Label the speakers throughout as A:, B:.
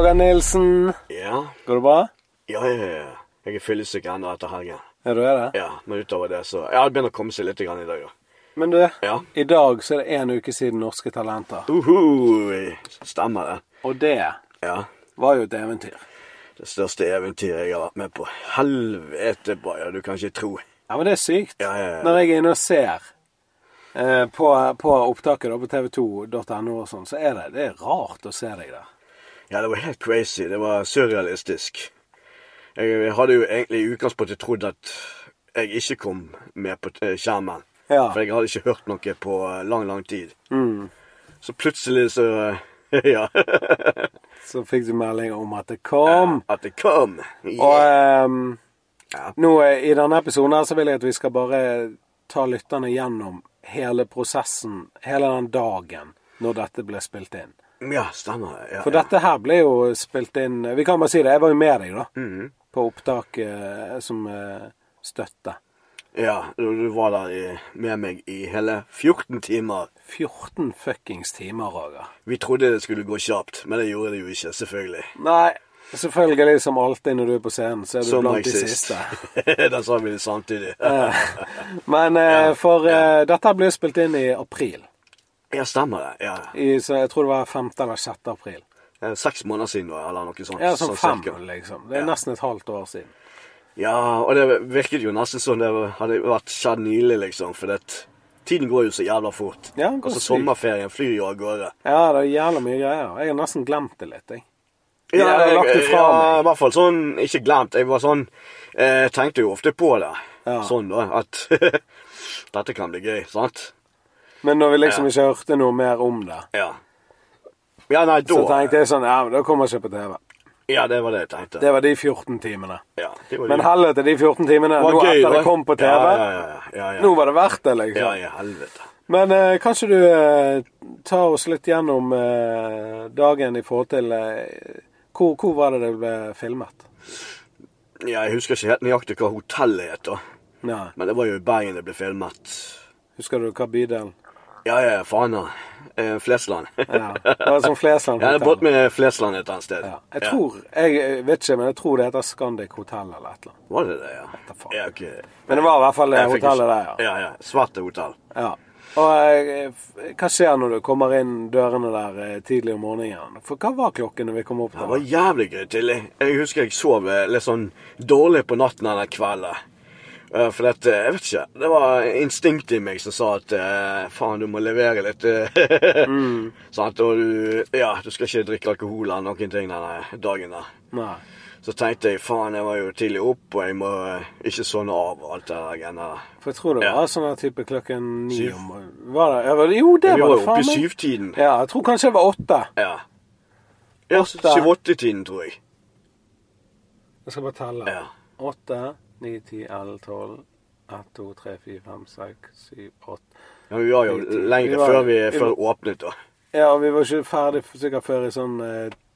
A: Nilsen.
B: Ja.
A: Går det bra?
B: Ja, ja, ja. Jeg er fyllesyk ennå etter helgen.
A: Ja, du er det?
B: Ja, Men utover det, så Ja, det begynner å komme seg litt grann i dag, ja.
A: Men du,
B: Ja.
A: i dag så er det én uke siden Norske Talenter.
B: Uhu, stemmer det.
A: Og det
B: Ja.
A: var jo et eventyr.
B: Det største eventyret jeg har vært med på. Helvete bra, ja, du kan ikke tro.
A: Ja, men det er sykt.
B: Ja, ja, ja.
A: Når jeg er inne og ser eh, på, på opptaket da, på tv2.no og sånn, så er det, det er rart å se deg der.
B: Ja, det var helt crazy. Det var surrealistisk. Jeg hadde jo egentlig i utgangspunktet trodd at jeg ikke kom med på eh, skjermen.
A: Ja.
B: For jeg hadde ikke hørt noe på eh, lang, lang tid. Så plutselig så eh, Ja.
A: Så fikk du melding om at det kom.
B: At det kom.
A: Og
B: Yeah.
A: ehm,
B: Ja.
A: nå eh, i denne episoden her så vil jeg at vi skal bare ta lytterne gjennom hele prosessen, hele den dagen når dette ble spilt inn.
B: ja, stemmer. det. Ja,
A: For
B: ja.
A: dette her ble jo spilt inn Vi kan bare si det, jeg var jo med deg, da.
B: Mhm.
A: På opptak eh, som eh, støtte.
B: ja, du, du var der i, med meg i hele 14 timer.
A: 14 fuckings timer, Roger.
B: Vi trodde det skulle gå kjapt, men det gjorde det jo ikke, selvfølgelig.
A: Nei, selvfølgelig, som alltid når du er på scenen, så er du
B: Som
A: blant
B: jeg
A: de
B: sist.
A: siste.
B: da sa vi det samtidig.
A: Men eh, for eh, dette ble jo spilt inn i april.
B: ja, stemmer det. Ja.
A: I, så jeg tror det var 5. eller 6. april.
B: Eh, Seks måneder siden, da, eller noe sånt.
A: Ja, sånn fem,
B: cirka.
A: liksom. Det er
B: Ja.
A: nesten et halvt år siden.
B: Ja, og det virket jo nesten som det hadde vært skjedd nylig, liksom. For det, tiden går jo så jævla fort.
A: Ja, den går
B: og så
A: sykt.
B: sommerferien flyr jo av gårde.
A: Ja, det er jævla mye greier. Jeg har nesten glemt det litt, jeg.
B: Ja,
A: jeg har lagt det fra
B: ja,
A: meg.
B: i hvert fall sånn ikke glemt. Jeg var sånn eh, Tenkte jo ofte på det.
A: Ja.
B: Sånn, da. At dette kan bli gøy, sant?
A: Men når vi liksom ikke hørte noe mer om det,
B: Ja. Ja, nei, da
A: så tenkte jeg sånn Ja, men da kommer jeg ikke på TV.
B: Ja, det var det jeg tenkte.
A: Det var de 14 timene.
B: ja, det var
A: Men
B: jo-
A: helvete, de 14 timene
B: var
A: nå
B: gøy,
A: etter
B: da.
A: det kom på TV,
B: Ja, ja, ja. ja, ja.
A: nå var det verdt det, liksom.
B: ja, ja helvete.
A: Men eh, kanskje du eh, tar oss litt gjennom eh, dagen i forhold til eh, hvor, hvor var det det ble filmet?
B: Ja, jeg husker ikke helt nøyaktig hva hotellet het, da.
A: Nei.
B: Men det var jo i Bergen det ble filmet.
A: Husker du hva bydelen
B: Ja, ja, faen da. Eh, Flesland.
A: ja. Det var sånn Flesland
B: Ja, det er båt
A: hotell.
B: med Flesland et annet sted.
A: Ja. Jeg tror Jeg eh, vet ikke, men jeg tror det heter Scandic hotell eller et eller annet.
B: Var det det, ja?
A: da faen.
B: Ja, ok.
A: Men det var i hvert fall det
B: Jeg fikk
A: hotellet
B: ikke-
A: der, ja.
B: Ja, ja. Svarte hotell.
A: ja. Og eh, f- hva skjer når du kommer inn dørene der eh, tidlig om morgenen? For hva var klokken når vi kom opp
B: Det
A: der?
B: var jævlig gøy tidlig. Jeg husker jeg sov eh, litt sånn dårlig på natten denne kvelden. Eh, For dette, jeg vet ikke, det var instinktet i meg som sa at eh, faen, du må levere litt. eh, Sant? Og du, ja, du skal ikke drikke alkohol eller noen ting denne dagen der.
A: Nei.
B: Så tenkte jeg faen, jeg var jo tidlig opp, og jeg må eh, ikke sovne av og alt det der greiene der.
A: For jeg tror det
B: Ja.
A: var sånn her type klokken ni
B: Syv.
A: om var det? Ja, var det- Jo, det
B: Vi
A: var
B: var
A: det
B: jo oppe
A: faen
B: i
A: meg.
B: syvtiden.
A: Ja, jeg tror kanskje det var åtte.
B: Ja. Ja,
A: Åtte.
B: syv-åtte-tiden, tror jeg.
A: Jeg skal bare telle.
B: Ja.
A: Åtte, ni, ti, elleve, tolv. Ett, to, tre, fire, fem, seks, syv, åtte.
B: ja vi var jo
A: Syvtiden. Vi
B: lenger
A: var-
B: før vi
A: vi-
B: før det åpnet, da.
A: Ja, og vi var ikke ferdig f- sikkert før i sånn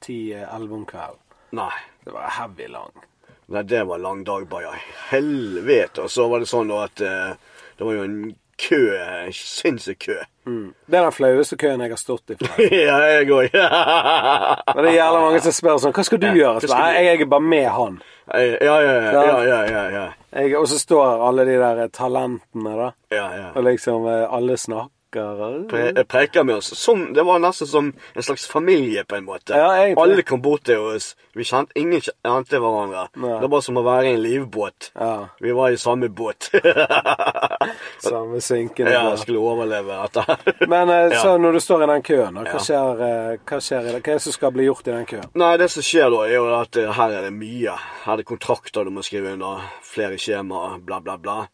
A: ti-elleve om kvelden.
B: Nei.
A: Det var heavy lang.
B: Nei, det var en lang dag, bare. ja. Helvete. Og så var det sånn da at eh, det var jo en kø. en Sinnssyk kø.
A: Mm. Det er den flaueste køen jeg har stått i. fra.
B: ja, jeg òg.
A: Og det er jævla mange som spør sånn Hva skal du gjøre? Så,
B: skal
A: Nei, jeg er bare med han.
B: ja, ja, ja. ja, ja, ja, ja.
A: Jeg, og så står alle de der eh, talentene, da.
B: ja, ja.
A: Og liksom eh, alle snakker. og-
B: pre preker med oss. Som, det var nesten som en slags familie, på en måte.
A: Ja, egentlig.
B: Alle kom bort til oss. Vi kjente, ingen kjente hverandre.
A: Nei.
B: Det var som å være i en livbåt.
A: Ja.
B: Vi var i samme båt.
A: Samme synkende
B: ja,
A: båt.
B: skulle overleve dette.
A: Men eh,
B: Ja.
A: så når du står i den køen, da,
B: Ja.
A: hva skjer, eh, hva skjer i det? Hva er det som skal bli gjort i den køen?
B: Nei, det som skjer da, er jo at eh, her er det mye. Her er det kontrakter du må skrive under, flere skjemaer, bla, bla, bla.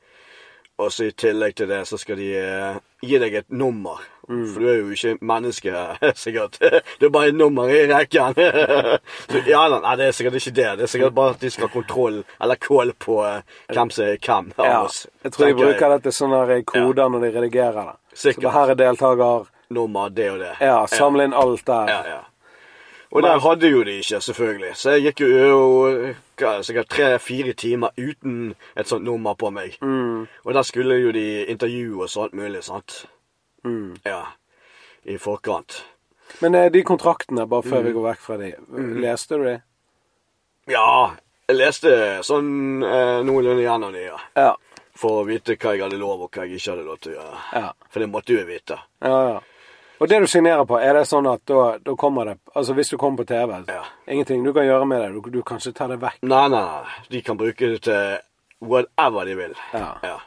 B: Og så i tillegg til det så skal de eh, gi deg et nummer.
A: Mm.
B: For du er jo ikke menneske, sikkert. Du er bare et nummer i rekken. Så, ja da, nei, det er sikkert ikke det. Det er sikkert bare at de skal ha kontroll, eller kål på eh, hvem som er hvem av oss.
A: Jeg tror de
B: tenker
A: bruker dette sånne her koder når de redigerer det. Så
B: Sikkert.
A: det her er deltaker
B: Nummer, det og det.
A: Ja, samle inn alt der.
B: Ja, ja. Og der hadde jo de ikke, selvfølgelig. Så jeg gikk jo jo hva, sikkert tre-fire timer uten et sånt nummer på meg. Og der skulle jo de intervjue og sånt mulig, sant. Ja. I forkant.
A: Men eh, de kontraktene, bare før
B: Mm.
A: vi går vekk fra de, leste du de?
B: Ja, jeg leste sånn eh, noenlunde gjennom det, ja.
A: Ja.
B: For å vite hva jeg hadde lov, og hva jeg ikke hadde lov til å gjøre.
A: Ja.
B: For det måtte jo jeg vite.
A: ja, ja. Og det du signerer på, er det sånn at da, da kommer det Altså hvis du kommer på TV,
B: Ja.
A: ingenting du kan gjøre med det. Du, du kan ikke ta det vekk.
B: Nei, nei, nei. De kan bruke det til whatever de vil.
A: Ja.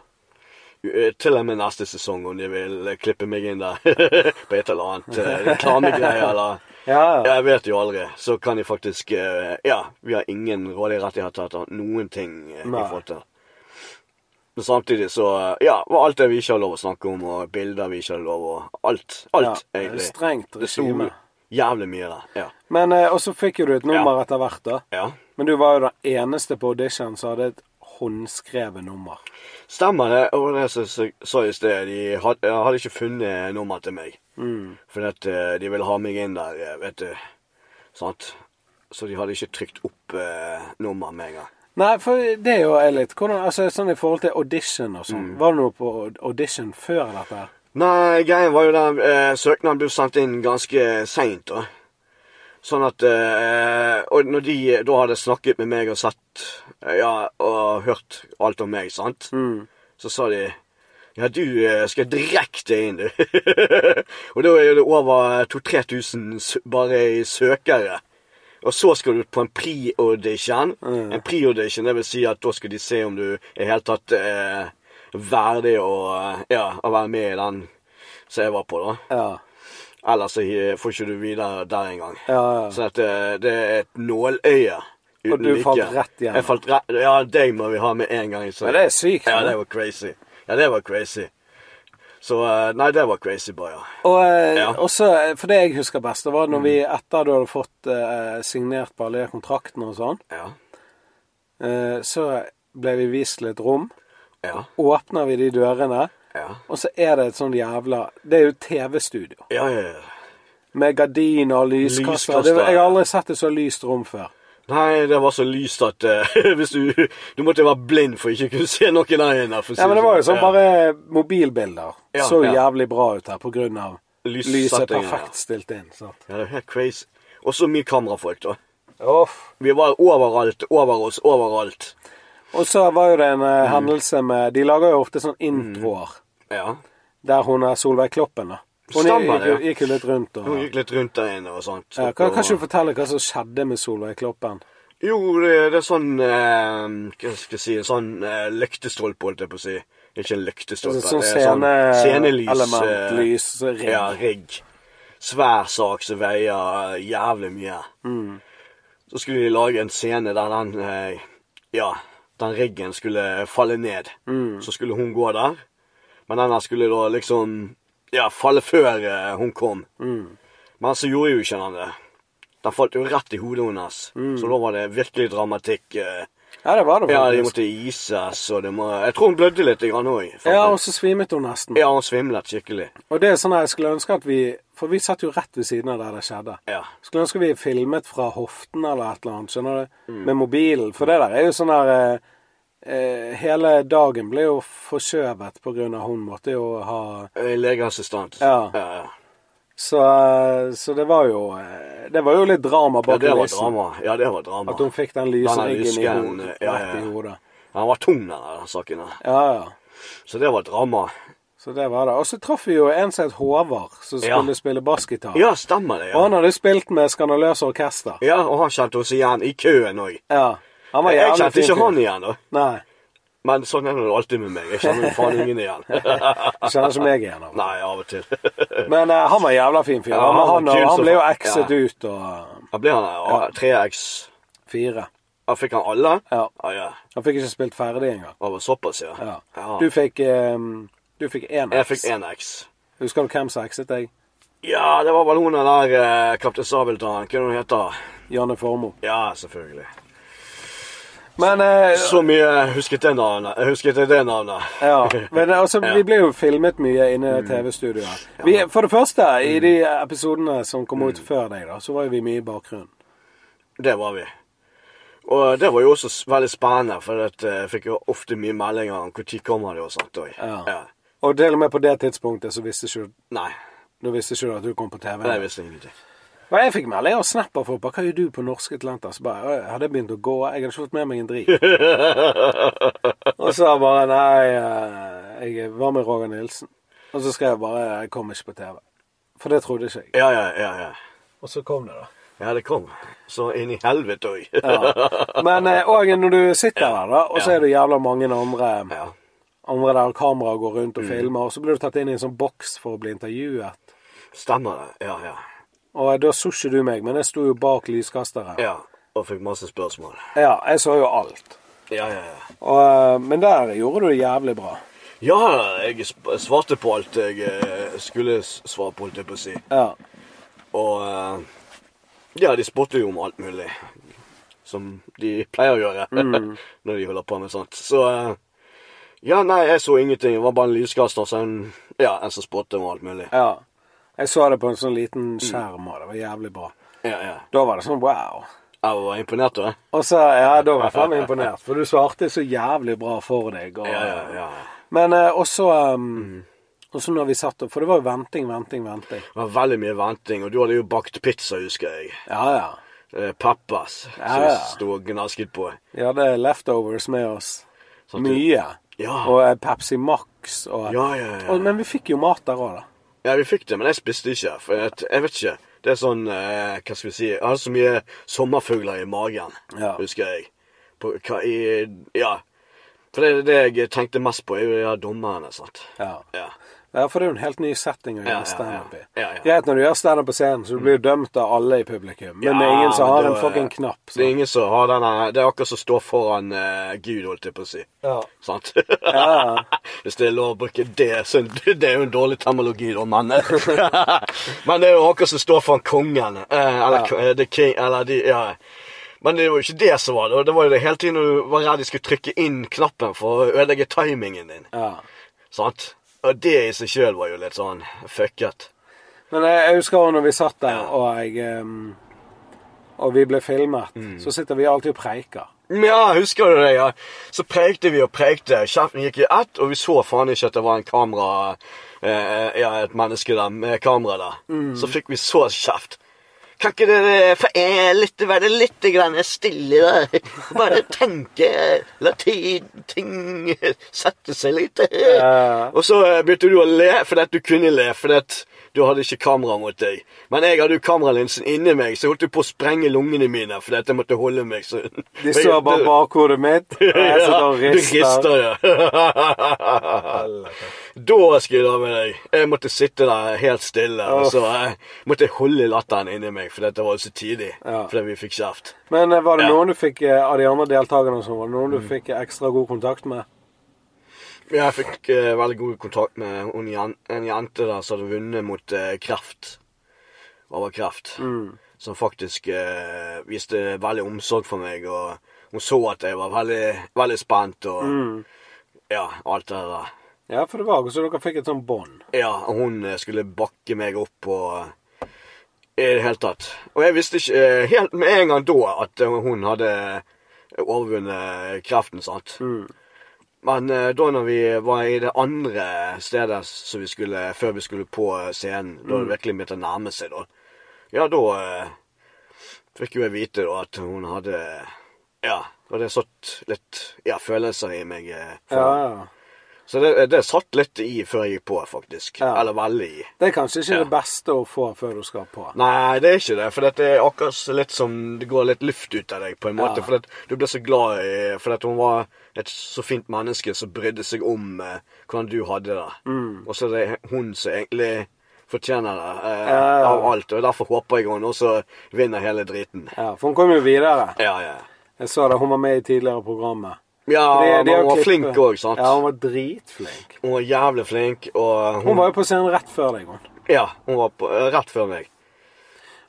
B: Eh, Til og med neste sesong, om de vil eh, klippe meg inn der på et eller annet eh, reklamegreie eller
A: Ja, ja.
B: Jeg vet jo aldri. Så kan de faktisk eh, Ja, vi har ingen rådige rettigheter til noen ting eh, i
A: Nei.
B: forhold til Men samtidig så eh, Ja, og alt det vi ikke har lov å snakke om, og bilder vi ikke har lov å Alt. Alt,
A: Ja, det er
B: egentlig.
A: strengt
B: Det sto
A: regime.
B: jævlig mye der. Ja.
A: Men eh, Og så fikk jo du et nummer etter hvert, da.
B: ja.
A: Men du var jo den eneste på audition som hadde et håndskrevet nummer.
B: Stemmer det. Og det som jeg sa i sted, de had, jeg hadde ikke funnet nummeret til meg. For at eh, de ville ha meg inn der, eh, vet du. Sant? Så de hadde ikke trykt opp eh, nummer med en gang.
A: Nei, for det er jo litt Hvordan, altså Sånn i forhold til audition og sånn. Var det noe på audition før dette? her?
B: Nei, greien var jo den eh, søknaden ble sendt inn ganske seint, da. Sånn at eh, Og når de da hadde snakket med meg og sett eh, Ja, og hørt alt om meg, sant, så sa de ja, du eh, skal direkte inn, du. og da er det over 2000-3000 bare i søkere. Og så skal du på en pre-audition. En pre-audition, det vil si at da skal de se om du er i helt tatt eh, verdig å, eh, ja, å være med i den som jeg var på, da.
A: Ja.
B: Ellers så eh, får ikke du videre der engang.
A: Ja, ja.
B: Så at, eh, det er et nåløye uten
A: Og du falt rett igjennom.
B: Jeg falt rett, ja, deg må vi ha med en gang. Så.
A: Men det er sykt,
B: Ja,
A: da.
B: det var crazy. Ja, det var crazy. Så eh, Nei, det var crazy, bare. ja.
A: Og eh,
B: Ja.
A: også, eh, for det jeg husker best, det var når vi etter du hadde fått eh, signert på alle de kontraktene og sånn,
B: Ja.
A: eh, så ble vi vist til et rom.
B: Ja.
A: Åpner vi de dørene,
B: Ja.
A: og så er det et sånn jævla Det er jo TV-studio.
B: Ja, ja, ja.
A: Med gardiner og lyskasser.
B: Lyskasser,
A: Det, jeg har
B: ja.
A: aldri sett et så lyst rom før.
B: Nei, det var så lyst at eh, hvis du Du måtte være blind for ikke å kunne se noen der inne. for å si
A: Ja, men det var jo
B: sånn.
A: sånn bare mobilbilder.
B: Ja,
A: så jo
B: ja.
A: jævlig bra ut her på grunn av
B: Lyssettingen,
A: lyset
B: ja.
A: perfekt stilt inn. Sant?
B: Ja, det var helt crazy. Og så mye kamerafolk, da.
A: Uff.
B: Vi var overalt, over oss, overalt.
A: Og så var jo det en eh, hendelse med De lager jo ofte sånn introer
B: Ja.
A: der hun er Solveig Kloppen, da. Hun
B: Stemmer
A: gikk, jo-
B: det, ja.
A: gikk jo litt rundt og
B: Hun gikk litt rundt der inne og sånt.
A: ja, kan, kan ikke du fortelle hva som skjedde med Solveig Kloppen?
B: Jo, det, det er sånn eh, Hva skal jeg si En sånn eh, lyktestolpe, holdt jeg på å si. Ikke en lyktestolpe.
A: Altså, sånn
B: det er
A: scene-
B: scenelys.
A: element,
B: eh,
A: lys, rigg.
B: Ja, rigg. Svær sak som veier eh, jævlig mye.
A: Mm.
B: Så skulle de lage en scene der den eh, Ja, den riggen skulle falle ned.
A: Mm.
B: Så skulle hun gå der. Men denne skulle da liksom Ja, falle før eh, hun kom.
A: Mm.
B: Men så gjorde jo ikke den det. Den falt jo rett i hodet hennes. Så da var det virkelig dramatikk. eh.
A: Ja, det var Mm. det
B: Ja, de
A: faktisk.
B: måtte ises, og det må Jeg tror hun blødde litt òg.
A: Ja, og så svimet hun nesten.
B: ja, hun svimlet skikkelig.
A: Og det er sånn jeg skulle ønske at vi For vi satt jo rett ved siden av der det skjedde.
B: Ja.
A: Skulle ønske vi filmet fra hoften eller et eller annet, skjønner du?
B: Mm.
A: Med mobilen. For det der er jo sånn der eh, eh, Hele dagen ble jo forskjøvet på grunn av hun måtte jo ha
B: Eh, Legeassistent.
A: Ja.
B: ja, ja.
A: Så, eh, så det var jo eh, Det var jo litt drama
B: Ja,
A: bak
B: det var
A: kulissen.
B: drama. Ja, det var drama.
A: At hun fikk den lyse
B: Denne
A: ryggen i
B: lysken,
A: hodet.
B: ja,
A: Rett i
B: ja.
A: hodet.
B: Han var tung, den der saken der.
A: Ja, ja.
B: Så det var drama.
A: Så det var det. Og så traff vi jo en som het Håvard, som
B: Ja.
A: skulle spille bassgitar.
B: Ja, stemmer
A: Og
B: det. Ja,
A: han hadde spilt med Skandaløse Orkester.
B: ja og han kjente oss igjen i køen òg.
A: Ja. Han var
B: Jeg
A: jævlig
B: kjente
A: fin
B: ikke
A: fyr.
B: han igjen, da.
A: Nei.
B: Men sånn er det jo alltid med meg. Jeg kjenner jo faen ingen igjen.
A: Jeg kjenner ikke meg igjen. av det.
B: Nei, av og til.
A: Men eh, han var en jævla fin fyr.
B: Ja,
A: men
B: han var
A: han,
B: kul
A: han,
B: som
A: ble jo
B: faen.
A: exet
B: Ja.
A: ut og eh,
B: Da ble han ja, 3X.
A: fire.
B: Da fikk han alle.
A: Ja.
B: Ja, Ah, ja.
A: Han fikk ikke spilt ferdig engang.
B: Det var såpass, ja.
A: Ja.
B: Ja.
A: Du fikk eh, Du fikk én
B: Jeg
A: X.
B: fikk 1X.
A: Husker du hvem som exet deg?
B: Ja, det var vel hun der eh, Kaptein Sabeltann. Hva er det hun heter?
A: Janne Formoe.
B: Ja, selvfølgelig.
A: Men eh,
B: Så mye husket jeg navnet. Jeg husket det navnet.
A: ja. Men eh, altså,
B: Ja. Mm.
A: vi ble jo filmet mye inne i TV-studioet. Vi, for det første, i de episodene som kom ut
B: Mm.
A: før deg, da, så var jo vi mye i bakgrunnen.
B: Det var vi. Og eh, det var jo også s- veldig spennende, for at, eh, jeg fikk jo ofte mye meldinger om når kommer det og sånt. Og,
A: Ja. Og til og med på det tidspunktet så visste ikke du
B: Nei.
A: Da visste ikke du at du kom på TV?
B: Nei, jeg visste ingenting.
A: Men jeg fikk melding av snapper folk bare 'Hva gjør du på Norske Talenter?' Så Altså, bare «Å, 'Har det begynt å gå?' Jeg hadde ikke fått med meg en drit. og så bare 'Nei, eh, jeg var med Roger Nilsen'. Og så skrev jeg bare 'Jeg kom ikke på TV'. For det trodde ikke jeg.
B: Ja, ja, ja. ja.
A: Og så kom det, da.
B: Ja, det kom. Så inn i helvete òg.
A: Ja. Men eh, og når du sitter der, da, og så
B: Ja.
A: er det jævla mange andre,
B: ja.
A: andre der kameraet går rundt og filmer, og så blir du tatt inn i en sånn boks for å bli intervjuet.
B: Stemmer det. Ja, ja.
A: Og eh, da så ikke du meg, men jeg sto jo bak lyskasteren.
B: Ja, og fikk masse spørsmål.
A: Ja, jeg så jo alt.
B: Ja, ja, ja.
A: Og, eh, men der gjorde du det jævlig bra.
B: Ja, jeg sp- svarte på alt jeg eh, skulle s- svare på, holdt jeg på å si.
A: Ja.
B: Og eh, ja, de spotter jo om alt mulig. Som de pleier å gjøre
A: Mm.
B: når de holder på med sånt. Så eh, ja, nei, jeg så ingenting. Det var bare en lyskaster som ja, en som spottet om alt mulig.
A: ja. Jeg så det på en sånn liten
B: Mm.
A: skjerm, og det var jævlig bra.
B: Ja, ja.
A: Da var det sånn wow.
B: Jeg var imponert, da.
A: Og så, ja, da var jeg faen meg imponert, for du svarte så jævlig bra for deg. Og,
B: Ja, ja, Mm. ja.
A: Men eh, også ehm, Også når vi satt opp, for det var jo venting, venting, venting.
B: Det var veldig mye venting, og du hadde jo bakt pizza, husker jeg.
A: Ja, ja.
B: Eh, Peppers, som
A: Ja, ja.
B: sto og gnasket på.
A: Vi hadde leftovers med oss.
B: Sånn at du-
A: Mye.
B: Ja.
A: Og eh, Pepsi Max og
B: Ja, ja, ja.
A: Og, Men vi fikk jo mat der òg, da.
B: Ja, vi fikk det, men jeg spiste ikke. For jeg, jeg vet ikke. Det er sånn eh, Hva skal vi si Jeg hadde så mye sommerfugler i magen,
A: Ja.
B: husker jeg. På, hva, i, ja. For det er det jeg tenkte mest på, er jo de her dommerne, sant.
A: Ja.
B: Ja.
A: Ja, for det er jo en helt ny setting å
B: Ja, ja,
A: gjøre standup i.
B: ja. Ja, ja.
A: Greit når du gjør standup på scenen, så du blir jo dømt av alle i publikum. Men det
B: Ja,
A: er ingen som
B: men
A: har
B: det
A: en
B: var-
A: fucking knapp. sant?
B: Det er ingen som har denne Det er akkurat som står foran eh, Gud, holdt jeg på å si.
A: Ja.
B: Sant?
A: Ja.
B: Hvis det er lov å bruke det, så det er jo en dårlig termologi, da, men Men det er jo akkurat som står foran kongen, eh, eller
A: Ja.
B: k- eh, the king, eller de ja. Men det var jo ikke det som var det. Det var jo det hele tiden du var redd de skulle trykke inn knappen for å ødelegge timingen din.
A: Ja.
B: Sant? Og det i seg sjøl var jo litt sånn fucket.
A: Men jeg, jeg husker også når vi satt der, og jeg ehm, Og vi ble filmet,
B: Mm.
A: så sitter vi alltid og preiker.
B: Ja, husker du det? ja? Så prekte vi og prekte. Kjeften gikk i ett, og vi så faen ikke at det var en kamera eh, Ja, et menneske der med kamera der. Så fikk vi så kjeft. Kan ikke dere for eh, litt, være litt grann stille der? Bare tenke. La ti- ting sette seg litt.
A: Ja.
B: Og så eh, begynte du å le fordi at du kunne le. fordi at du hadde ikke kamera mot deg. Men jeg hadde jo kameralinsen inni meg, så jeg holdt jo på å sprenge lungene mine. fordi at jeg måtte holde meg så...
A: De står bare bakhodet mitt, og jeg sitter og
B: Ja,
A: rister.
B: Du rister, ja. da skulle jeg ha med deg. Jeg måtte sitte der helt stille. Og så eh, måtte jeg holde latteren inni meg, for dette var jo så tidlig.
A: Ja.
B: Fordi vi fikk kjeft.
A: Men eh, var det
B: Ja. Mm.
A: noen du fikk eh, av de andre deltakerne som var det noen du fikk ekstra god kontakt med?
B: Jeg fikk eh, veldig god kontakt med en, jen en jente der som hadde vunnet mot eh, kreft. Over kreft. Som faktisk eh, viste veldig omsorg for meg, og hun så at jeg var veldig, veldig spent og Ja, alt det der.
A: Ja, for det var akkurat så dere fikk et sånt bånd.
B: Ja, og hun eh, skulle bakke meg opp og eh, I det hele tatt. Og jeg visste ikke eh, helt med en gang da at eh, hun hadde overvunnet kreften,
A: Mm.
B: sant. Men eh, da når vi var i det andre stedet som vi skulle, før vi skulle på eh, scenen, da
A: Mm.
B: det virkelig begynte å nærme seg, da, ja, da eh, fikk jo jeg vite da at hun hadde Ja, og det satt litt ja, følelser i meg. eh, for-
A: Ja, ja.
B: så det, det satt litt i før jeg gikk på, faktisk.
A: Ja.
B: Eller veldig i.
A: Det er kanskje ikke
B: Ja.
A: det beste å få før du skal på.
B: Nei, det er ikke det, for dette er akkurat litt som det går litt luft ut av deg, på en måte.
A: Ja.
B: For at du blir så glad i For at hun var et så fint menneske som brydde seg om eh, hvordan du hadde det. Og så er det hun som egentlig fortjener det eh,
A: Mm. Ja, ja.
B: av alt, og derfor håper jeg hun også vinner hele driten.
A: Ja, For hun kom jo videre.
B: Ja, ja.
A: Jeg så det, hun var med i tidligere programmet.
B: Ja,
A: Det- det
B: men
A: å
B: hun var
A: klippe-
B: flink òg, sant?
A: Ja, hun var dritflink.
B: Hun var jævlig flink, og hun,
A: Hun var jo på scenen rett før deg, hun.
B: Ja, hun var på, eh, rett før meg.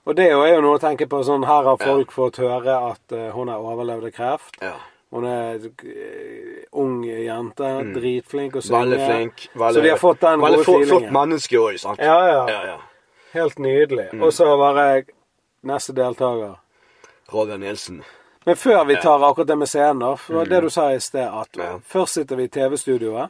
A: Og det er jo- er jo noe å tenke på. sånn, Her har folk fått høre at eh, hun har overlevd kreft.
B: Ja.
A: Hun er eh, ung jente, dritflink og synger.
B: Mm. Veldig flink. Veldig,
A: så de har fått den
B: veldig
A: gode
B: flott, flott
A: feelingen.
B: menneske òg, sant?
A: Ja, ja.
B: ja, ja.
A: Helt nydelig.
B: Mm.
A: Og så var jeg neste deltaker.
B: Roger Nilsen.
A: Men før vi tar akkurat det med scenen, da, for det du sa i sted, at
B: Mm. Ja. Mm.
A: først sitter vi i TV-studioet,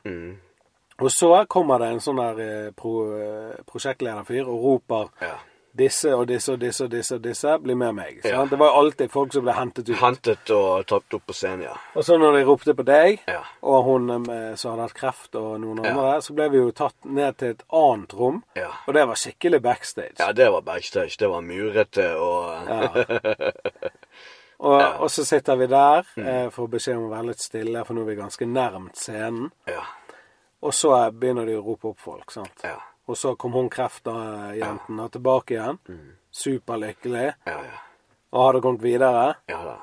A: Og så kommer det en sånn der eh, pro, eh, prosjektlederfyr og roper
B: Ja.
A: disse og disse og disse og disse og disse blir med meg.
B: Ja.
A: sant? Det var jo alltid folk som ble hentet ut.
B: Hentet og tatt opp på scenen, ja.
A: Og så når de ropte på deg,
B: Ja.
A: og hun eh, som hadde hatt kreft og noen
B: Ja.
A: andre, så ble vi jo tatt ned til et annet rom,
B: Ja.
A: og det var skikkelig backstage.
B: Ja, det var backstage. Det var murete og
A: Ja. Og, og så sitter vi der,
B: Mm.
A: eh, får beskjed om å være litt stille, for nå er vi ganske nærmt scenen.
B: Ja.
A: Og så eh, begynner de å rope opp folk, sant.
B: Ja.
A: Og så kom hun kreftjenten ja. tilbake igjen,
B: Mm.
A: superlykkelig,
B: Ja, ja.
A: og hadde kommet videre.
B: ja da.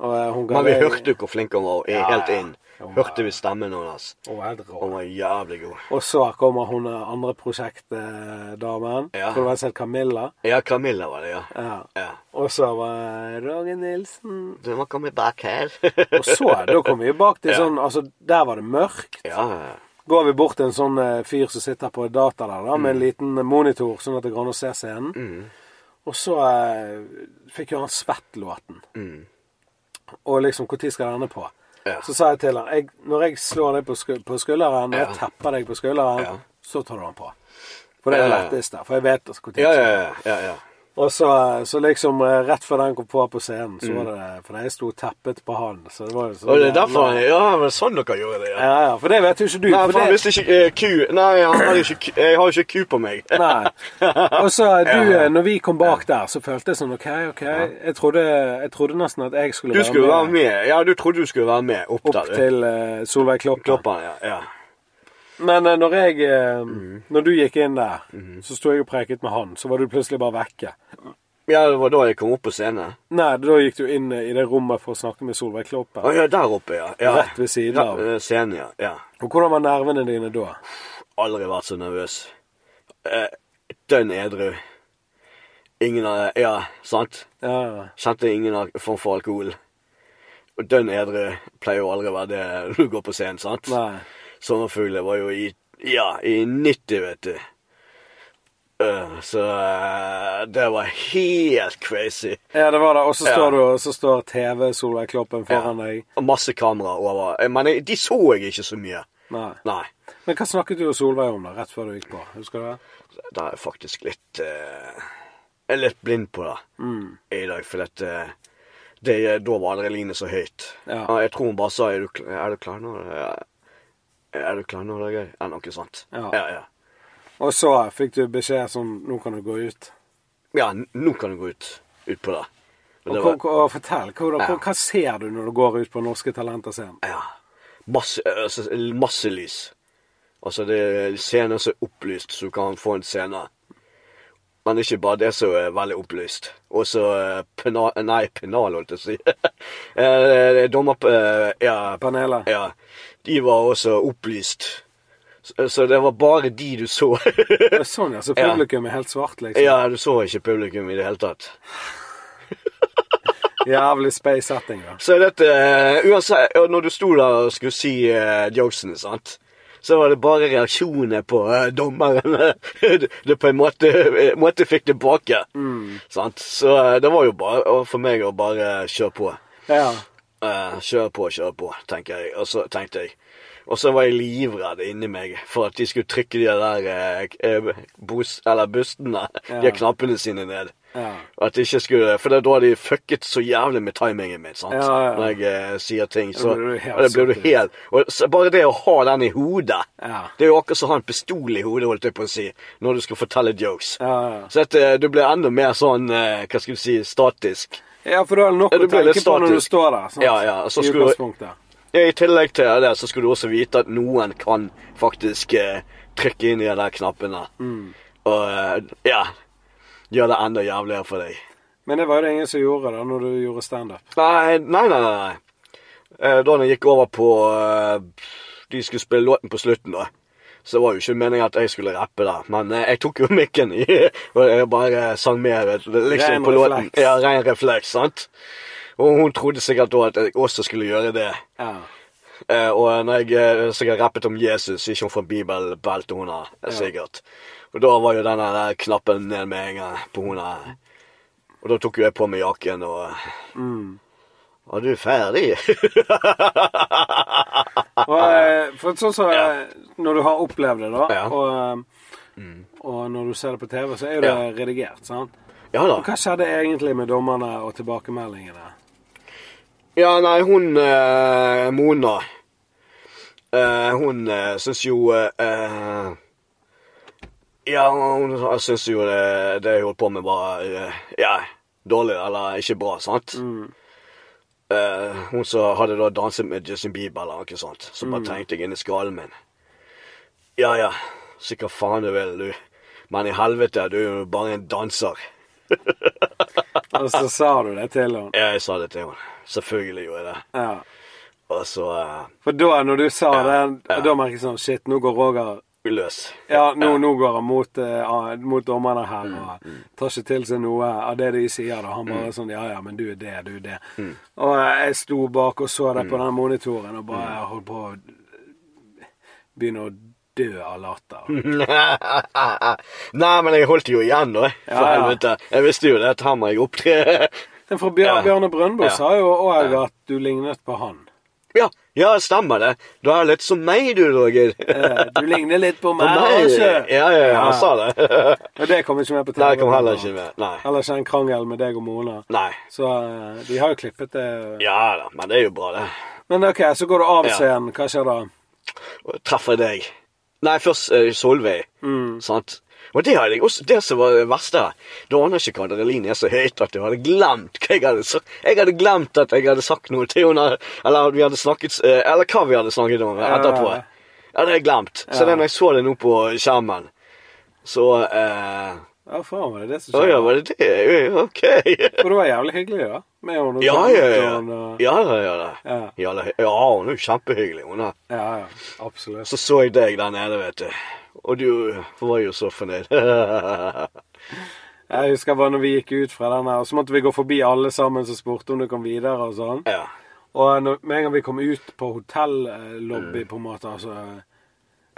A: Og eh, hun ga
B: Men vi
A: deg-
B: hørte jo hvor flink han var, og er helt
A: ja.
B: inn.
A: Jo,
B: Hørte vi stemmen hennes.
A: Hun var helt rå.
B: Han var jævlig god.
A: Og så kommer hun eh, andre prosjektdamen.
B: Ja.
A: Tror det var en som het Camilla.
B: Ja, Camilla var det, ja.
A: Ja.
B: ja.
A: Og så var Roger Nilsen
B: Du må komme bak her.
A: Og så, da kom vi bak til
B: Ja.
A: sånn Altså, der var det mørkt.
B: ja, ja.
A: Går vi bort til en sånn eh, fyr som sitter på data der, da,
B: Mm.
A: med en liten monitor, sånn at det går an å se scenen. Og så eh, fikk jo han svettlåten.
B: Mm.
A: Og liksom, når skal denne på?
B: Ja.
A: Så sa jeg til han jeg, Når jeg slår deg på, sku på skulderen, når
B: Ja.
A: jeg tepper deg på skulderen,
B: Ja.
A: så tar du den på. For det er det
B: Ja, ja.
A: letteste. For jeg vet når
B: Ja, ja, ja. ja, ja.
A: Og så, så liksom eh, rett før den kom på på scenen, så var det For jeg sto teppet på han, så det var jo sånn
B: Mm. Og det er derfor han Ja, men det er sånn dere gjorde det, ja.
A: Ja, ja, for det vet jo ikke du.
B: Nei,
A: for
B: for han
A: det...
B: visste ikke eh, ku Nei, han hadde ikke ku Jeg har jo ikke ku på meg.
A: Nei. Og så du,
B: Ja.
A: eh, når vi kom bak der, så følte jeg sånn OK, OK. Jeg trodde, jeg trodde nesten at jeg skulle
B: Du skulle
A: være
B: være
A: med
B: med. Ja, du trodde du skulle være med opp
A: opp
B: der. du.
A: til eh, Solveig Kloppen.
B: Kloppen, ja. ja.
A: Men eh, når jeg eh,
B: Mm.
A: Når du gikk inn der, så sto jeg og preket med han, så var du plutselig bare vekke.
B: Ja, det var da jeg kom opp på scenen.
A: Nei, da gikk du inn eh, i det rommet for å snakke med Solveig Kloppen.
B: Å ja, der oppe, ja. ja.
A: Rett ved siden av.
B: Ja, eh, Scenen, ja. ja.
A: Og hvordan var nervene dine da?
B: Aldri vært så nervøs. Eh, dønn edru. Ingen av Ja, sant?
A: Ja, ja.
B: Kjente ingen av- form for alkohol. Og dønn edru pleier jo aldri å være det når du går på scenen, sant?
A: Nei.
B: Sommerfugler var jo i Ja, i 90, vet du. Eh, så eh, det var helt crazy.
A: Ja, det var det. Og så
B: Ja.
A: står du, og så står TV Solveig Kloppen foran deg.
B: Og masse kamera over. Eh, Men jeg- de så jeg ikke så mye.
A: Nei.
B: Nei.
A: Men hva snakket du og Solveig om da, rett før du gikk på? Husker du det?
B: Da er jeg faktisk litt eh, Jeg er litt blind på det
A: Mm.
B: i dag, for at eh, det, da var adrenalinet så høyt.
A: Ja.
B: Jeg tror hun bare sa Er du, kl- er du klar nå? Eh, Er du klar nå, Dag Øy? Eller noe sånt.
A: Ja.
B: ja. ja.
A: Og så fikk du beskjed sånn Nå kan du gå ut.
B: Ja, n- nå kan du gå ut, ut på det. Og
A: Og,
B: det
A: hvor-
B: var,
A: hvor- fortell, hvor,
B: Ja.
A: hvor, hva ser du når du går ut på Norske Talenter-scenen?
B: ja, masse, altså, masse lys. Altså, det er scener som er opplyst, så du kan få en scene. Men ikke bare det som er veldig opplyst. Og så eh, pena, Nei, penal, holdt jeg på å si. Eh, Dommer... eh, Ja,
A: Panelet?
B: ja. De var også opplyst. Så, så det var bare de du så.
A: Det er Sånn, ja. Så publikum er helt svart, liksom.
B: ja, du så ikke publikum i det hele tatt.
A: Jævlig space setting, da.
B: Så er dette eh, uansett, og Når du sto der og skulle si uh, jokesene, sant så var det bare reaksjoner på eh, dommeren. du, du på en måte, eh, måte fikk tilbake.
A: Mm.
B: Sant? Så eh, det var jo bare og for meg å bare kjøre på.
A: Ja.
B: Eh, kjøre på, kjøre på, tenker jeg. Og så tenkte jeg. Og så var jeg livredd inni meg for at de skulle trykke de der eh, k- eh, bus, eller bustene, de
A: Ja.
B: knappene sine ned.
A: Ja.
B: Og at de ikke skulle For det er da de fucket så jævlig med timingen min, sant.
A: Ja, ja, ja.
B: Når jeg eh, sier ting, så
A: blir du helt
B: og det blir du
A: satt ut.
B: helt og så Bare det å ha den i hodet
A: Ja.
B: Det er jo akkurat som å ha en pistol i hodet, holdt jeg på å si, når du skal fortelle jokes.
A: Ja, ja.
B: Så at eh, du blir enda mer sånn, eh, hva skal du si, statisk.
A: ja, for du har nok
B: Ja,
A: å
B: du blir
A: tenke
B: litt
A: på når du
B: statisk.
A: står der. Sant?
B: Ja, ja, og så
A: I
B: skulle-
A: utgangspunktet.
B: Ja, I tillegg til det, så skulle du også vite at noen kan faktisk eh, trykke inn i de der knappene.
A: Mm.
B: Og eh, ja, gjøre det enda jævligere for deg.
A: Men det var jo det ingen som gjorde da når du gjorde standup.
B: Nei, nei, nei, nei. nei. Eh, da jeg gikk over på eh, De skulle spille låten på slutten, da. Så det var jo ikke meningen at jeg skulle rappe der, men eh, jeg tok jo mikken i, og jeg bare sang med. Vet, du, liksom
A: Ren
B: på låten.
A: refleks.
B: Ja, ren refleks, sant? Og hun trodde sikkert da at jeg også skulle gjøre det.
A: Ja.
B: Eh, og når jeg eh, sikkert rappet om Jesus, ikke om fra bibelbeltet hun har, eh, sikkert. Og da var jo den der knappen ned med en gang på hun her. Og da tok jo jeg på meg jakken og
A: Mm.
B: Var du ferdig?
A: Og, eh, For sånn som
B: Ah, Ja.
A: eh, Når du har opplevd det, da,
B: Ja. Mm.
A: og, eh, og når du ser det på TV, så er jo det
B: Ja.
A: redigert. sant?
B: Ja da.
A: Og Hva skjedde egentlig med dommerne og tilbakemeldingene?
B: Ja, nei, hun eh, Mona eh, Hun eh, syns jo eh, eh, Ja, hun syns jo eh, det, det jeg holdt på med, var eh, ja, dårlig eller ikke bra, sant? Eh, hun som hadde da danset med Justin Bieber eller noe sånt, så bare tenkte jeg inni skallen min Ja ja, sikkert faen du vil, du. Men i helvete, du er jo bare en danser.
A: Og så sa du det til henne.
B: Ja, jeg sa det til henne. Selvfølgelig gjorde jeg det.
A: Ja.
B: Og så eh,
A: For da, når du sa det,
B: ja.
A: da merket jeg sånn Shit, nå går Roger
B: løs.
A: Ja, nå, nå går han mot, eh, ah, mot dommerne her
B: Mm.
A: og tar ikke til seg noe av det de sier. da. Han bare sånn Ja, ja, men du er det, du er det.
B: Mm.
A: Og eh, jeg sto bak og så det på den monitoren og bare
B: Mm.
A: holdt på å begynne å dø av
B: Mm.
A: latter.
B: Nei, men jeg holdt jo igjen, da. For
A: Ja, ja.
B: helvete. Jeg visste jo det, at her må jeg opptre.
A: Den fra Bjør
B: Ja.
A: Bjarne Brøndbo
B: Ja.
A: sa jo òg at du lignet på han.
B: ja, ja, stemmer det. Du er litt som meg, du, Roger.
A: Eh, Du ligner litt på meg,
B: ja,
A: ikke?
B: ja, ja, han sa det.
A: Og det kom ikke med på TV.
B: Nei, jeg kom heller ikke med. Nei.
A: Heller ikke en krangel med deg og Mona.
B: Nei.
A: Så eh, de har jo klippet det.
B: Ja da, men det er jo bra, det.
A: Men OK, så går du av
B: Ja.
A: scenen. Hva skjer da?
B: Og treffer deg. Nei, først eh, Solveig. Sant? Og det, hadde jeg også, det som var det verste her, da aner ikke adrenalinet er så høyt at jeg hadde glemt hva jeg hadde sagt. Jeg hadde glemt at jeg hadde sagt noe til henne, eller at vi hadde snakket, eh, eller hva vi hadde snakket om etterpå.
A: ja.
B: Jeg hadde jeg glemt. Så det er når jeg så det nå på skjermen, så eh,
A: Ja, faen var det det som
B: Å
A: skjedde?
B: ja, var det det? Ja, Ok.
A: Og det var jævlig hyggelig, da. Med henne og
B: Ja, ja, ja.
A: sånt, og-
B: Ja, ja, ja. Ja,
A: Ja.
B: ja, det- ja hun er jo kjempehyggelig, hun er.
A: ja, ja. Absolutt.
B: Så så jeg deg der nede, vet du. Og du var jo så fornøyd.
A: Jeg husker bare når vi gikk ut fra den her, og så måtte vi gå forbi alle sammen som spurte om du kom videre og sånn.
B: ja.
A: Og når, med en gang vi kom ut på hotellobby, på en måte, altså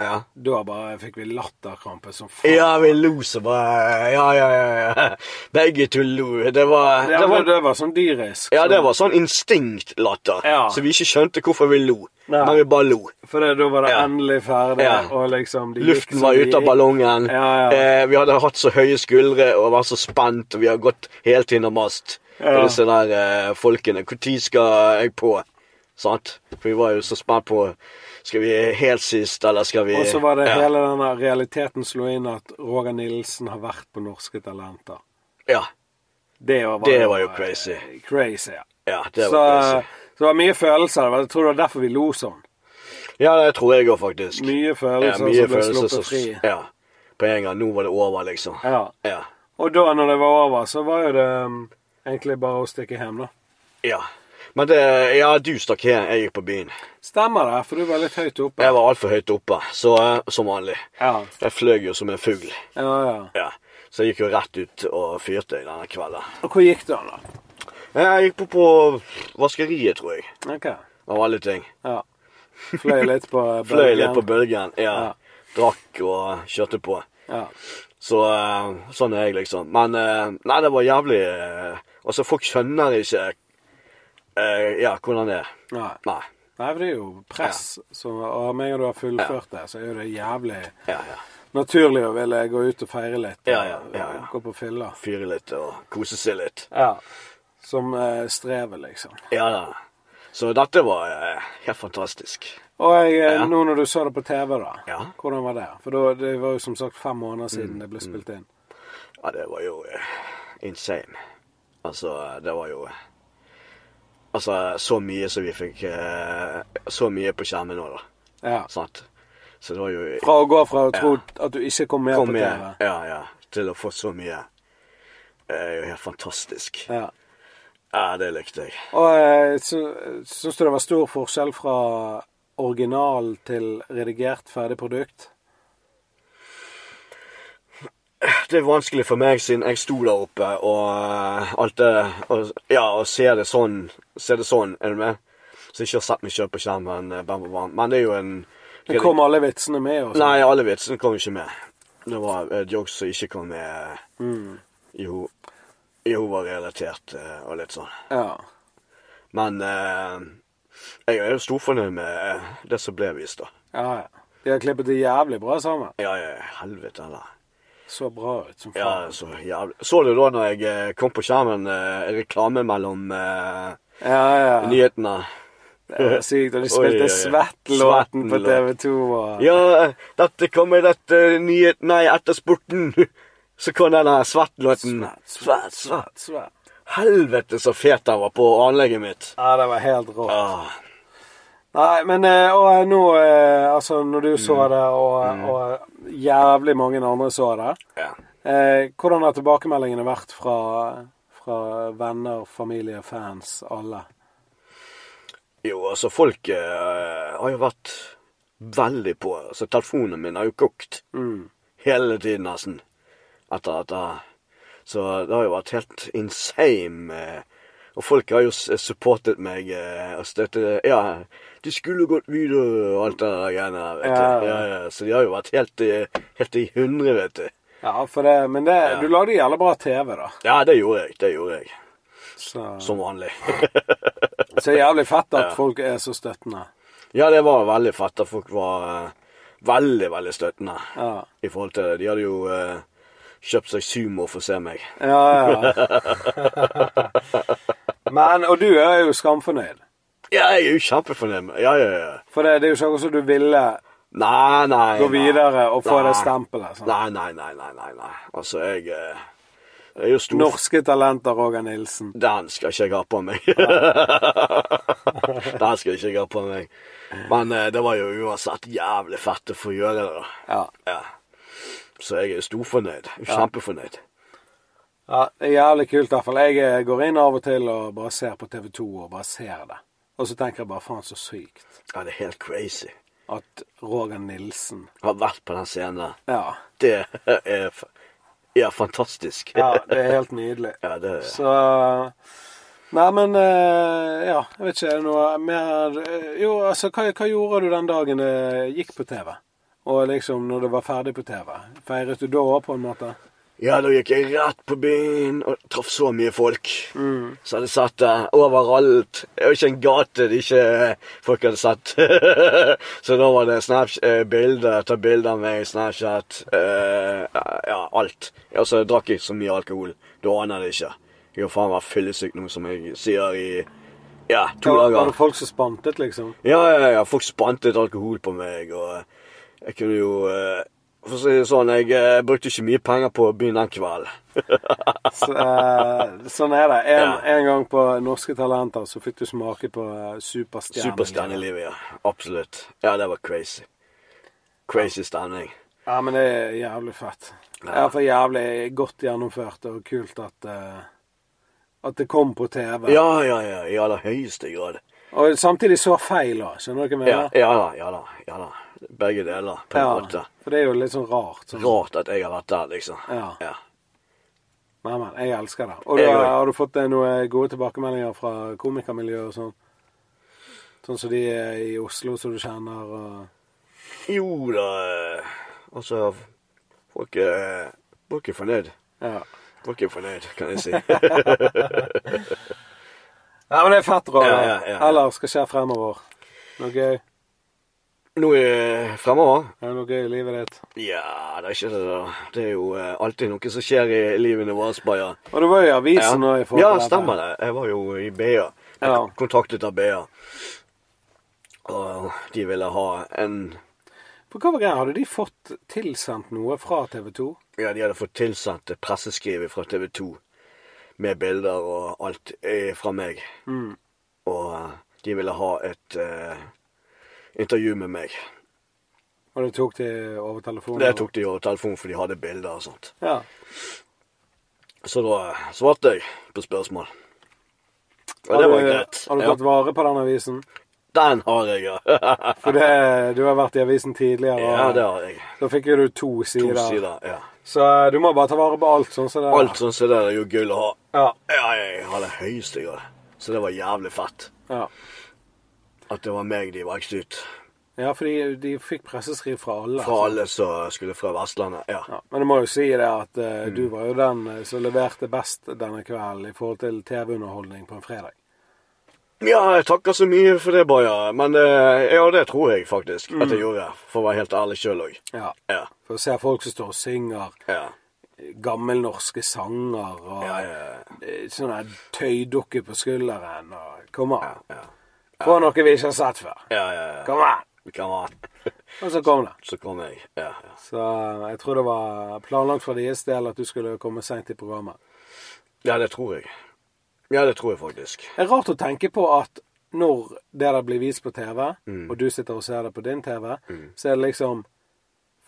B: ja.
A: Da bare fikk vi latterkrampe som faen.
B: Ja, vi lo så bare Ja, ja, ja. ja. Begge to lo. Det var,
A: det,
B: det
A: var,
B: var
A: det var sånn dyrisk.
B: ja,
A: sånn-
B: det var sånn instinktlatter,
A: Ja.
B: så vi ikke skjønte hvorfor vi lo.
A: Nei.
B: Men vi bare lo.
A: For det, da var det
B: Ja.
A: endelig ferdig,
B: Ja.
A: og liksom de gikk
B: Luften
A: som
B: var
A: de
B: ute av
A: gikk.
B: ballongen.
A: Ja, ja.
B: Eh, vi hadde hatt så høye skuldre og vært så spent, og vi har gått helt inn og mast.
A: Ja.
B: Og disse der eh, folkene. Når skal jeg på? Sant? For vi var jo så spent på Skal vi helt sist, eller skal vi
A: Og så var det
B: ja.
A: hele den der realiteten slo inn at Roger Nilsen har vært på Norske Talenter.
B: Ja.
A: Det var,
B: Det var jo
A: eh,
B: crazy.
A: Crazy, ja.
B: ja det
A: så,
B: var crazy.
A: så det var mye følelser. det var- Jeg tror det var derfor vi lo sånn.
B: Ja, det tror jeg òg, faktisk.
A: Mye
B: ja,
A: følelser
B: mye
A: som ble
B: følelser
A: sluppet
B: som
A: fri.
B: Ja. På en gang. Nå var det over, liksom.
A: Ja.
B: Ja.
A: Og da, når det var over, så var jo det um, egentlig bare å stikke hjem, da.
B: ja. Men det, ja, du stakk hjem. Jeg gikk på byen.
A: Stemmer det, for du var litt høyt oppe.
B: Jeg var altfor høyt oppe, så eh, som vanlig.
A: Ja,
B: Jeg fløy jo som en fugl.
A: ja, ja.
B: Ja. Så jeg gikk jo rett ut og fyrte i denne kvelden.
A: Og hvor gikk du, da?
B: Jeg gikk på, på vaskeriet, tror jeg.
A: Ok,
B: Av alle ting.
A: ja. Fløy litt på
B: Fløy
A: bølgen.
B: litt på bølgen. Ja.
A: Ja.
B: Drakk og kjørte på.
A: Ja.
B: Så eh, sånn er jeg, liksom. Men eh, nei, det var jævlig eh, Altså, folk skjønner ikke eh, Ja, hvordan det er.
A: Nei.
B: Nei.
A: Nei, for det er jo press. Så, og med en gang du har fullført det, så er jo det jævlig
B: Ja, ja.
A: naturlig å ville gå ut og feire litt.
B: Ja, ja,
A: og-
B: ja, ja.
A: og Gå på fylla.
B: Fyre litt og kose seg litt.
A: Ja. Som eh, strever, liksom.
B: Ja da. Så dette var eh, helt fantastisk.
A: Og jeg, eh,
B: Ja.
A: nå når du så det på TV, da,
B: Ja. Mm.
A: hvordan var det? For da, det var jo som sagt fem måneder siden det ble spilt inn.
B: Ja, det var jo eh, insane. Altså, det var jo Altså, så mye som vi fikk eh, Så mye på skjermen nå, da.
A: Ja.
B: Sant? Så det var jo
A: Fra å gå fra å tro at du ikke kom med
B: Kom
A: på
B: med.
A: TV
B: Ja, ja. Til å få så mye. Det er jo helt fantastisk.
A: ja.
B: Ja, det likte jeg.
A: Og eh, sy- syns du det var stor forskjell fra original til redigert ferdig produkt?
B: Det er vanskelig for meg siden jeg sto der oppe og eh, alt det og, Ja, og ser det sånn, ser det sånn, er du med? Så jeg ikke har sett meg sjøl på skjermen. eh, Bam, bam, bam. Men det er jo en
A: Men kom alle vitsene med? Og sånn?
B: Nei, alle vitsene kom ikke med. Det var et jokes som ikke kom med mm. jo, jo var relatert eh, og litt sånn.
A: Ja.
B: Men eh, jeg er jo storfornøyd med eh, det som ble vist, da.
A: Ja, ja. De har klippet det jævlig bra sammen.
B: Ja, ja, helvete heller.
A: Så bra ut som
B: Ja,
A: faen.
B: så jævlig. Så du da når jeg eh, kom på skjermen eh, reklame mellom eh,
A: Ja, ja.
B: nyhetene?
A: Det er sykt. Og de
B: Oi, oi, oi.
A: spilte Svett-låten på
B: Svetten-låt.
A: TV2. Og...
B: Ja, eh, dette kommer dette eh, nyhet... Nei, etter sporten. Så kom den der svettlåten.
A: Svett, svett,
B: Svett, svett.
A: svett, svett.
B: Helvete så fet den var på anlegget mitt.
A: Ja, det var helt rått.
B: Ah,
A: Nei, men eh, og nå eh, Altså, når du så det, og, og jævlig mange andre så det
B: ja.
A: eh, Hvordan har tilbakemeldingene vært fra, fra venner, familie, fans, alle?
B: Jo, altså, folk eh, har jo vært veldig på. Altså, telefonen min har jo kokt
A: Mm.
B: hele tiden, nesten. Etter dette. Så det har jo vært helt insane. eh, Og folk har jo s- supportet meg eh, og støttet Ja, du skulle gått videre og alt det der greiene der, vet
A: Ja,
B: du. Ja,
A: ja.
B: ja. Så de har jo vært helt, i- helt i hundre, vet du.
A: Ja, for det Men det,
B: Ja.
A: du lagde jævla bra TV, da.
B: Ja, det gjorde jeg. Det gjorde jeg.
A: Så,
B: Som vanlig.
A: så jævlig fett at folk er så støttende.
B: Ja, det var veldig fett. at Folk var eh, veldig, veldig støttende
A: Ja.
B: i forhold til det. De hadde jo eh, kjøpt seg sumo for å se meg.
A: Ja, ja. men Og du er jo skamfornøyd.
B: Ja, jeg er jo kjempefornøyd. med- Ja, ja, ja.
A: For det, det er jo ikke akkurat som du ville
B: Nei, nei.
A: gå
B: nei.
A: videre og få
B: Nei.
A: det stempelet. sånn. sant?
B: Nei, nei, nei, nei, nei. nei. Altså, jeg eh, jeg er jo stor
A: Norske talenter, Roger Nilsen.
B: Den skal ikke jeg ha på meg. Den skal ikke jeg ha på meg. Men eh, det var jo uansett jævlig fett å få gjøre det, da.
A: Ja.
B: Ja. Så jeg er jo storfornøyd. Kjempefornøyd.
A: ja. Det er jævlig kult, i hvert fall. Jeg eh, går inn av og til og bare ser på TV2 og bare ser det. Og så tenker jeg bare faen så sykt
B: Ja, det er helt crazy.
A: at Roger Nilsen
B: har vært på den scenen der.
A: Ja.
B: Det er, f- ja, fantastisk.
A: ja det er helt nydelig.
B: Ja, det er
A: Så eh, Nei, men eh, Ja, jeg vet ikke. Er det noe mer eh, Jo, altså, hva, hva gjorde du den dagen det gikk på TV? Og liksom når det var ferdig på TV? Feiret du da òg, på en måte?
B: Ja, da gikk jeg rett på byen og traff så mye folk. Så hadde jeg sett det overalt. Det var ikke en gate de ikke folk hadde sett. så da var det Snapchat, eh, bilder, ta bilder av meg, Snapchat, eh, ja, alt. Ja, så drakk jeg så mye alkohol. Du aner det ikke. Jeg har faen vært fyllesyk nå, som jeg sier i ja, to
A: Var,
B: dager.
A: var det folk som spantet, liksom?
B: Ja, ja, ja. Folk spantet alkohol på meg, og jeg kunne jo eh, For å si det sånn, jeg eh, brukte ikke mye penger på byen den kvelden.
A: Så, eh, sånn er det. En,
B: Ja.
A: en gang på Norske Talenter så fikk du smake på eh, superstjerne.
B: Superstjernelivet, ja. Absolutt. Ja, det var crazy. Crazy stemning.
A: Ja, men det er jævlig fett. Det er for jævlig godt gjennomført og kult at eh, at det kom på TV.
B: Ja, ja, ja. I aller høyeste grad.
A: Og samtidig så feil òg, skjønner du hva jeg mener?
B: Ja, ja da, ja da. ja da. Begge deler, på en måte.
A: For det er jo litt sånn rart. Sånn.
B: Rart at jeg har vært der, liksom.
A: Ja.
B: ja.
A: Nei, men jeg elsker det. Og du,
B: Jeg òg.
A: har du fått eh, noen gode tilbakemeldinger fra komikermiljøet og sånn? Sånn som de er i Oslo, som du kjenner, og
B: Jo da eh, Altså, folk er, folk er fornøyd.
A: Ja.
B: Folk er fornøyd, kan jeg si.
A: Ja, men det er fett, Roger.
B: Ja, ja, ja, ja.
A: Eller skal skje fremover. Noe gøy.
B: Nå er fremover.
A: Er det noe gøy i livet ditt?
B: Ja, det er ikke det, da. Det er jo eh, alltid noe som skjer i livene våre, Baja.
A: Og du var jo i avisen nå i forhold
B: ja,
A: til dette.
B: stemmer det. Jeg var jo i BA. Jeg
A: Ja.
B: kontaktet av BA. Og de ville ha en
A: For hva var greia? Hadde de fått tilsendt noe fra TV 2?
B: Ja, de hadde fått tilsendt et presseskriv fra TV 2 med bilder og alt eh, fra meg.
A: Mm.
B: Og eh, de ville ha et eh, intervju med meg.
A: Og det tok de over telefonen?
B: Det tok de jo telefonen, for de hadde bilder og sånt.
A: Ja.
B: Så da eh, svarte jeg på spørsmål. Og
A: Har
B: det
A: du,
B: var greit.
A: har du
B: Ja.
A: tatt vare på den avisen?
B: Den har jeg, ja.
A: For det, du har vært i avisen tidligere, og
B: ja, det har jeg.
A: da fikk jo du to
B: To
A: sider.
B: sider. ja.
A: Så eh, du må bare ta vare på alt sånn som det er.
B: Alt sånn som det er jo gull å ha.
A: Ja.
B: Ja, jeg har det høyeste grad. Så det var jævlig fett.
A: ja.
B: At det var meg de valgte ut.
A: ja for de, de fikk presseskriv fra alle. altså.
B: Fra alle som skulle fra Vestlandet. Ja.
A: Ja, men jeg må jo si det at eh,
B: Mm.
A: du var jo den eh, som leverte best denne kvelden i forhold til TV-underholdning på en fredag.
B: Ja, jeg takker så mye for det, Baja. Men eh, ja, det tror jeg faktisk at
A: Mm.
B: jeg gjorde. For å være helt ærlig sjøl òg.
A: Ja.
B: Ja.
A: For å se folk som står og synger
B: Ja.
A: gammelnorske sanger og
B: Ja, ja,
A: eh, sånne tøydukker på skulderen og Kom an.
B: ja.
A: Få noe vi ikke har sett før.
B: Ja, ja, ja.
A: Kom an!
B: Kom an.
A: Og så kom det.
B: Så kom jeg. Ja, ja.
A: Så eh, jeg tror det var planlagt fra deres del at du skulle komme seint i programmet.
B: ja, det tror jeg. Ja, det tror jeg faktisk.
A: Det er rart å tenke på at når det der blir vist på TV,
B: Mm.
A: og du sitter og ser det på din TV, så er det liksom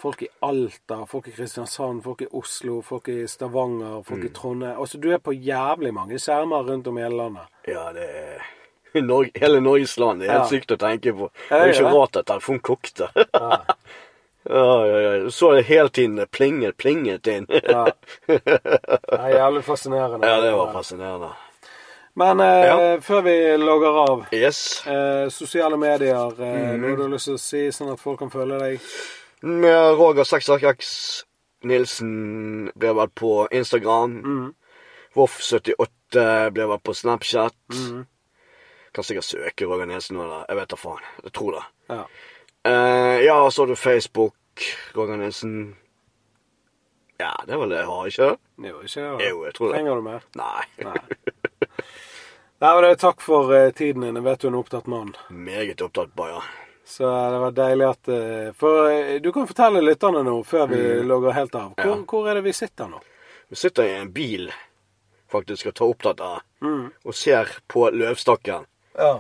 A: folk i Alta, folk i Kristiansand, folk i Oslo, folk i Stavanger, folk
B: Mm.
A: i Trondheim Altså, du er på jævlig mange skjermer rundt om i hele landet.
B: Ja, det er Norge, Hele Norges land. Det er helt
A: Ja.
B: sykt å tenke på. Det
A: Ja,
B: er jo
A: det er
B: ikke
A: det.
B: rart at telefonen kokte. ja, ja, ja. Du Så det hele tiden plinget, plinget inn. ja,
A: Ja. Det er jævlig fascinerende.
B: det var fascinerende.
A: Men eh,
B: Ja.
A: før vi logger av
B: Yes.
A: eh, Sosiale medier,
B: Mm.
A: eh, noe du har lyst til å si, sånn at folk kan følge deg?
B: Med Roger 666 Nilsen ble vel på Instagram.
A: Mm.
B: Voff78 ble vel på Snapchat.
A: Mm.
B: Kan sikkert søke Roger Nilsen nå, da. Jeg vet da faen. Jeg tror det.
A: Ja.
B: Eh, ja, og så har du Facebook, Roger Nilsen. Ja, det er vel det jeg har, ikke det?
A: Jo, ikke det?
B: Jo, jeg tror det.
A: Trenger du mer?
B: Nei.
A: Nei, men det er takk for eh, tiden din. Jeg vet du er en opptatt mann.
B: Meget opptatt, Baja.
A: Så det var deilig at eh, For eh, du kan fortelle lytterne nå, før vi logger helt av. Hvor,
B: Mm. Ja.
A: hvor er det vi sitter nå?
B: Vi sitter i en bil faktisk og tar opptatt av, og ser på løvstakken.
A: Ja.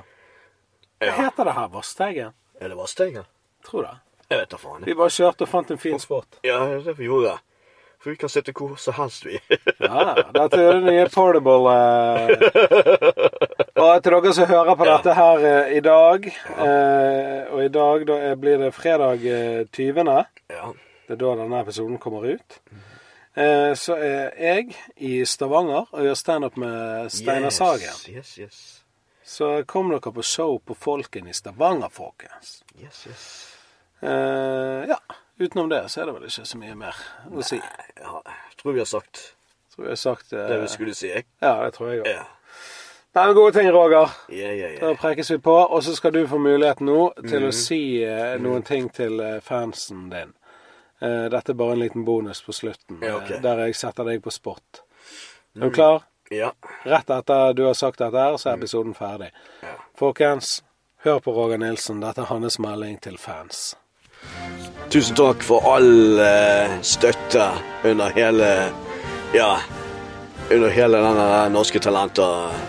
B: Ja.
A: Heter det her Vassteigen?
B: Er det Vasssteigen?
A: Tror det.
B: Jeg vet da faen.
A: Vi bare kjørte og fant en fin spot.
B: Ja, det er det vi gjorde. For vi kan sitte hvor som helst, vi.
A: Ja, dette er det nye portable eh. Og til dere som hører på dette her eh, i dag eh, Og i dag da, eh, blir det fredag eh, 20.
B: ja.
A: Det er da denne episoden kommer ut. Eh, så er jeg i Stavanger og gjør standup med Steinar Sagen.
B: Yes, yes.
A: Så kom dere på show på Folken i Stavanger, folkens.
B: Yes, yes.
A: Eh, ja, utenom det så er det vel ikke så mye mer å si.
B: Ja, jeg tror vi har sagt
A: Tror jeg har sagt eh,
B: det vi skulle si, jeg.
A: Ja, det tror jeg òg.
B: Ja.
A: Nei, men gode ting, Roger.
B: Ja, ja, ja.
A: Da prekes vi på. Og så skal du få muligheten nå til å
B: Mm.
A: si eh, noen ting til eh, fansen din. Eh, dette er bare en liten bonus på slutten,
B: Ja, ok. Mm.
A: eh, der jeg setter deg på spot. Er du klar?
B: Ja.
A: Rett etter du har sagt dette, her, så er episoden ferdig.
B: Ja.
A: Folkens, hør på Roger Nilsen. Dette er hans melding til fans.
B: Tusen takk for all eh, støtte under hele Ja, under hele denne der Norske Talenter-prosjektet.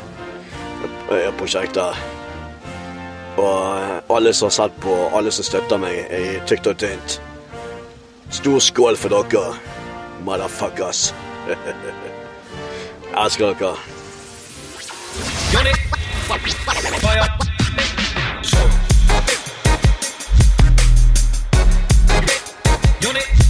B: Og eh, alle som har sett på, alle som støtter meg i tykt og tynt. Stor skål for dere, motherfuckers. Jeg elsker dere.
C: Unit.